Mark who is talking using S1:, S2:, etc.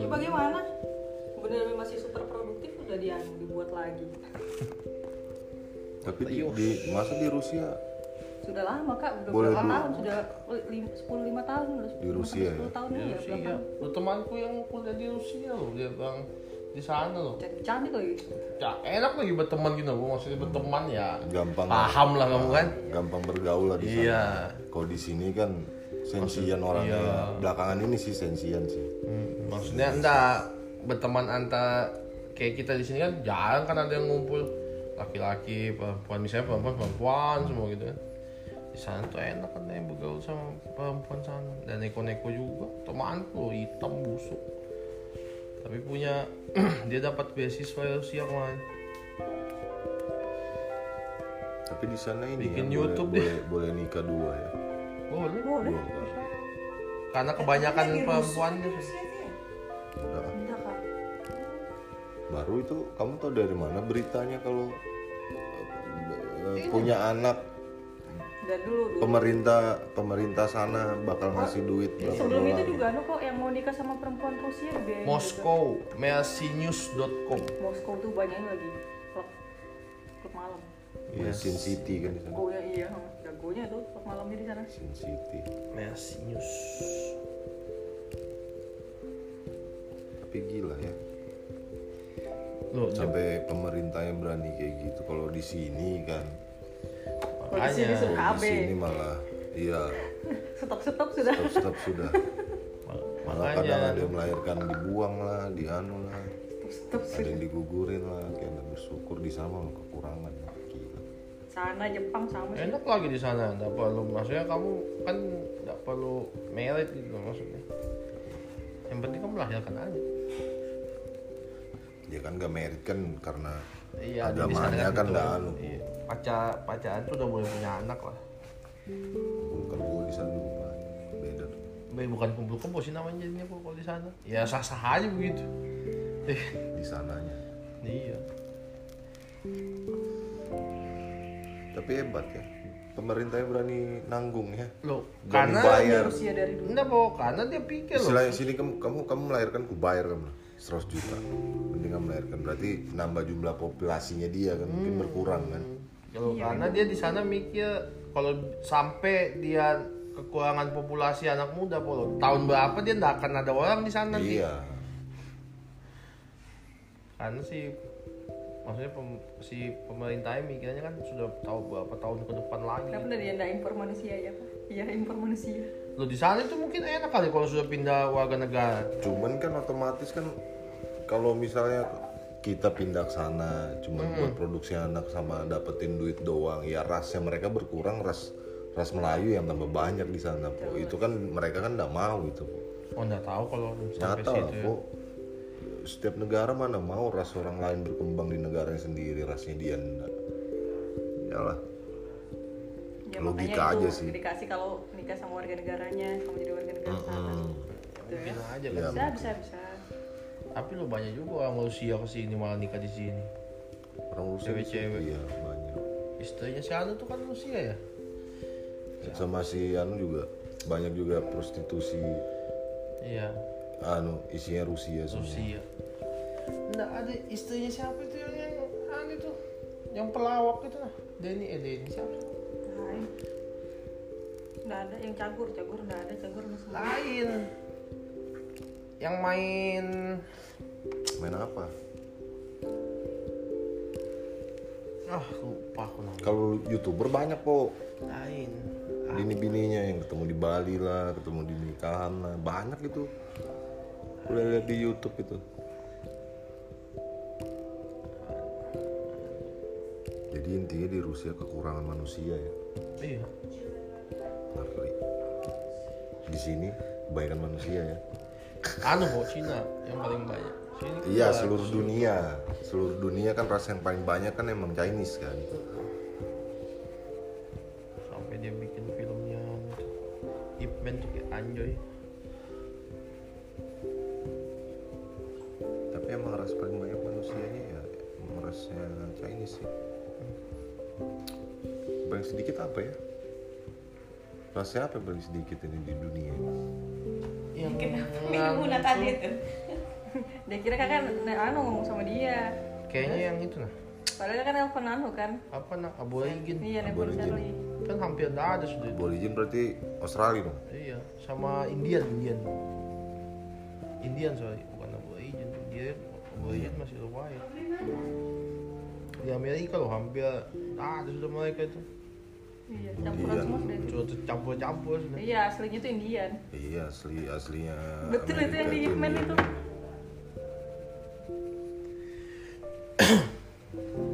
S1: Ya bagaimana? Bener masih super produktif udah dia dibuat lagi.
S2: Tapi di, di- masa di Rusia
S1: Sudah lama kak, udah
S2: Boleh
S1: berapa
S2: dulu.
S1: tahun? Sudah lim- 10 lima tahun, udah 10
S2: Di Rusia ya?
S1: sepuluh tahun
S3: Di
S1: ya, ya
S3: Rusia.
S1: berapa?
S3: Lo temanku yang kuliah di Rusia loh, dia bang di sana loh.
S1: Cantik cantik lagi.
S3: Ya, enak lagi berteman gitu, Bu. maksudnya berteman ya.
S2: gampang
S3: Paham lah kamu kan?
S2: gampang bergaul lah di sana.
S3: Iya.
S2: Kalau di sini kan sensian orangnya.
S3: iya.
S2: Belakangan ini sih sensian sih.
S3: Maksudnya enggak berteman antara kayak kita di sini kan jarang kan ada yang ngumpul laki-laki, perempuan misalnya perempuan perempuan semua gitu kan. Di sana tuh enak kan ya bergaul sama perempuan sana dan neko-neko juga temanku loh, hitam busuk. Tapi punya dia dapat beasiswa Rusia kemarin.
S2: Tapi di sana ini ya,
S3: Bikin YouTube
S2: boleh, boleh, boleh nikah dua ya.
S3: Boleh.
S1: Boleh.
S2: Dua kan.
S3: Oh, Karena kebanyakan perempuan
S2: Udah.
S1: Enggak kak.
S2: Nah, Baru itu kamu tahu dari mana beritanya kalau eh,
S1: Iya.
S2: punya anak
S1: Enggak dulu. dulu.
S2: pemerintah pemerintah sana bakal ngasih duit berapa
S1: Iya. Sebelum itu
S2: dolar.
S1: juga ada kok yang mau nikah sama perempuan Rusia dia.
S3: Moskow, mersinews.com.
S1: Moskow tuh banyak lagi. Klub klub malam.
S2: Iya, Sin City kan di sana.
S1: Goya iya, jagonya tuh klub malamnya di sana.
S2: Sin City.
S3: Mercy News.
S2: Tapi gila ya.
S3: Loh,
S2: Sampai pemerintahnya berani kayak gitu. Kalau di sini kan,
S1: Kalau di sini
S3: makanya
S1: suka
S2: kalau
S1: AB.
S2: di sini malah iya
S1: Stop stop sudah.
S2: stop-stop sudah. Malah kadang ada
S3: makanya
S2: yang melahirkan dibuang lah, dianu lah,
S1: Stop stop
S2: ada
S1: sudah.
S2: yang digugurin lah, kayak ada bersyukur di sana malah kekurangan. Gila.
S1: Sana Jepang sama sih.
S3: enak lagi di sana nggak perlu maksudnya kamu kan nggak perlu merit gitu loh maksudnya yang penting kamu melahirkan aja
S2: Ya kan gak merit kan karena
S3: iya di sana
S2: agamanya kan
S3: gitu.
S2: gak anu.
S3: iya. pacar pacaran tuh udah boleh punya anak lah
S2: Bukan gue di sana juga. beda. tuh.
S3: Be, bukan kumpul kumpul sih namanya jadinya kok kalau di sana ya sah sah aja begitu eh,
S2: Di sananya.
S3: iya
S2: Tapi hebat ya. Pemerintahnya berani nanggung ya.
S3: loh
S2: Berani
S3: karena
S2: bayar.
S1: Rusia dari dulu.
S3: enggak po karena dia pikir Iya loh
S2: Istilahnya sini kamu kamu kamu melahirkan ku bayar kamu lah, 100 juta. Mending kamu melahirkan berarti nambah jumlah populasinya dia kan
S3: Hmm.
S2: mungkin berkurang kan.
S3: Kalau karena dia di sana mikir kalau sampai dia kekurangan populasi anak muda polo tahun berapa dia nggak akan ada orang di sana nanti.
S2: Iya.
S3: Karena si maksudnya pem- si pemerintahnya mikirnya kan sudah tahu berapa tahun ke depan lagi.
S1: Kenapa dari anda impor manusia ya Pak? Iya impor manusia.
S3: Lo di sana itu mungkin enak kali kalau sudah pindah warga negara.
S2: Cuman kan otomatis kan kalau misalnya kita pindah ke sana cuman
S3: Hmm.
S2: buat produksi anak sama dapetin duit doang ya rasnya mereka berkurang ras ras Melayu yang tambah banyak di sana po
S3: Iya,
S2: itu kan mereka kan nggak mau itu po.
S3: Oh nggak tahu kalau sampai
S2: nyata lah
S3: situ. Ya.
S2: po setiap negara mana mau ras orang lain berkembang di negaranya sendiri rasnya dia nggak. iyalah
S1: Ya, makanya
S2: Logika aja
S1: itu
S2: sih.
S1: Dikasih kalau nikah sama warga negaranya, kamu jadi warga negara sana. Gitu ya.
S3: Mungkin aja kan.
S2: Ya.
S1: Bisa bisa bisa.
S3: Tapi lo banyak juga orang Rusia kesini malah nikah di sini.
S2: orang Rusia di situ,
S3: Cewek-cewek.
S2: iya banyak
S3: Istrinya si Anu tuh kan Rusia ya.
S2: sama si Anu juga banyak juga prostitusi
S3: Iya.
S2: Anu isinya Rusia semua
S3: Rusia. Nggak ada istrinya siapa itu yang yang anu itu yang pelawak itu lah. Denny eh Denny siapa?
S1: Lain. Nah, Nggak ada yang cagur, cagur nggak ada, cagur nggak semua.
S3: Lain. Yang main
S2: main apa
S3: ah lupa aku namanya.
S2: kalau youtuber banyak po
S3: Lain. Ah,
S2: bini-bininya yang ketemu di Bali lah ketemu di nikahan lah banyak itu udah lihat di YouTube itu jadi intinya di Rusia kekurangan manusia ya
S3: iya.
S2: ngeri di sini kebanyakan manusia ya
S3: Anu bawa Cina yang paling banyak. Sini
S2: iya
S3: kan
S2: seluruh dunia seluruh dunia kan ras yang paling banyak kan emang Chinese kan
S3: sampai dia bikin filmnya itu. Ip Man tuh kayak anjoy.
S2: tapi emang ras paling banyak manusianya ya emang rasnya Chinese sih paling sedikit apa ya Ras siapa yang paling sedikit ini di dunia?
S3: Yang
S4: Kenapa
S3: ngang-
S4: minggu tadi tuh?
S1: Dia kira kakak na- Anu ngomong sama dia.
S3: Kayaknya yang itu nah.
S1: Padahal kan nelfon Anu kan.
S3: Apa nah aborigin?
S1: Iya, nelfon
S2: Aborigin.
S1: Charlie.
S3: Kan hampir dah ada sudah.
S2: Aborigin berarti Australia dong.
S3: Iya, sama ờ, Indian, Indian. Indian sorry, bukan aborigin. Dia aborigin masih lumayan. Di Amerika loh hampir ah ada sudah mereka itu.
S1: Iya, campuran
S2: Iya.
S1: semua sudah itu.
S3: Sudah campur-campur sudah.
S1: Iya, aslinya itu Indian.
S2: Iya asli aslinya.
S1: Betul itu
S2: Ah, Amerika
S1: yang di Hitman
S2: Indian.
S1: itu.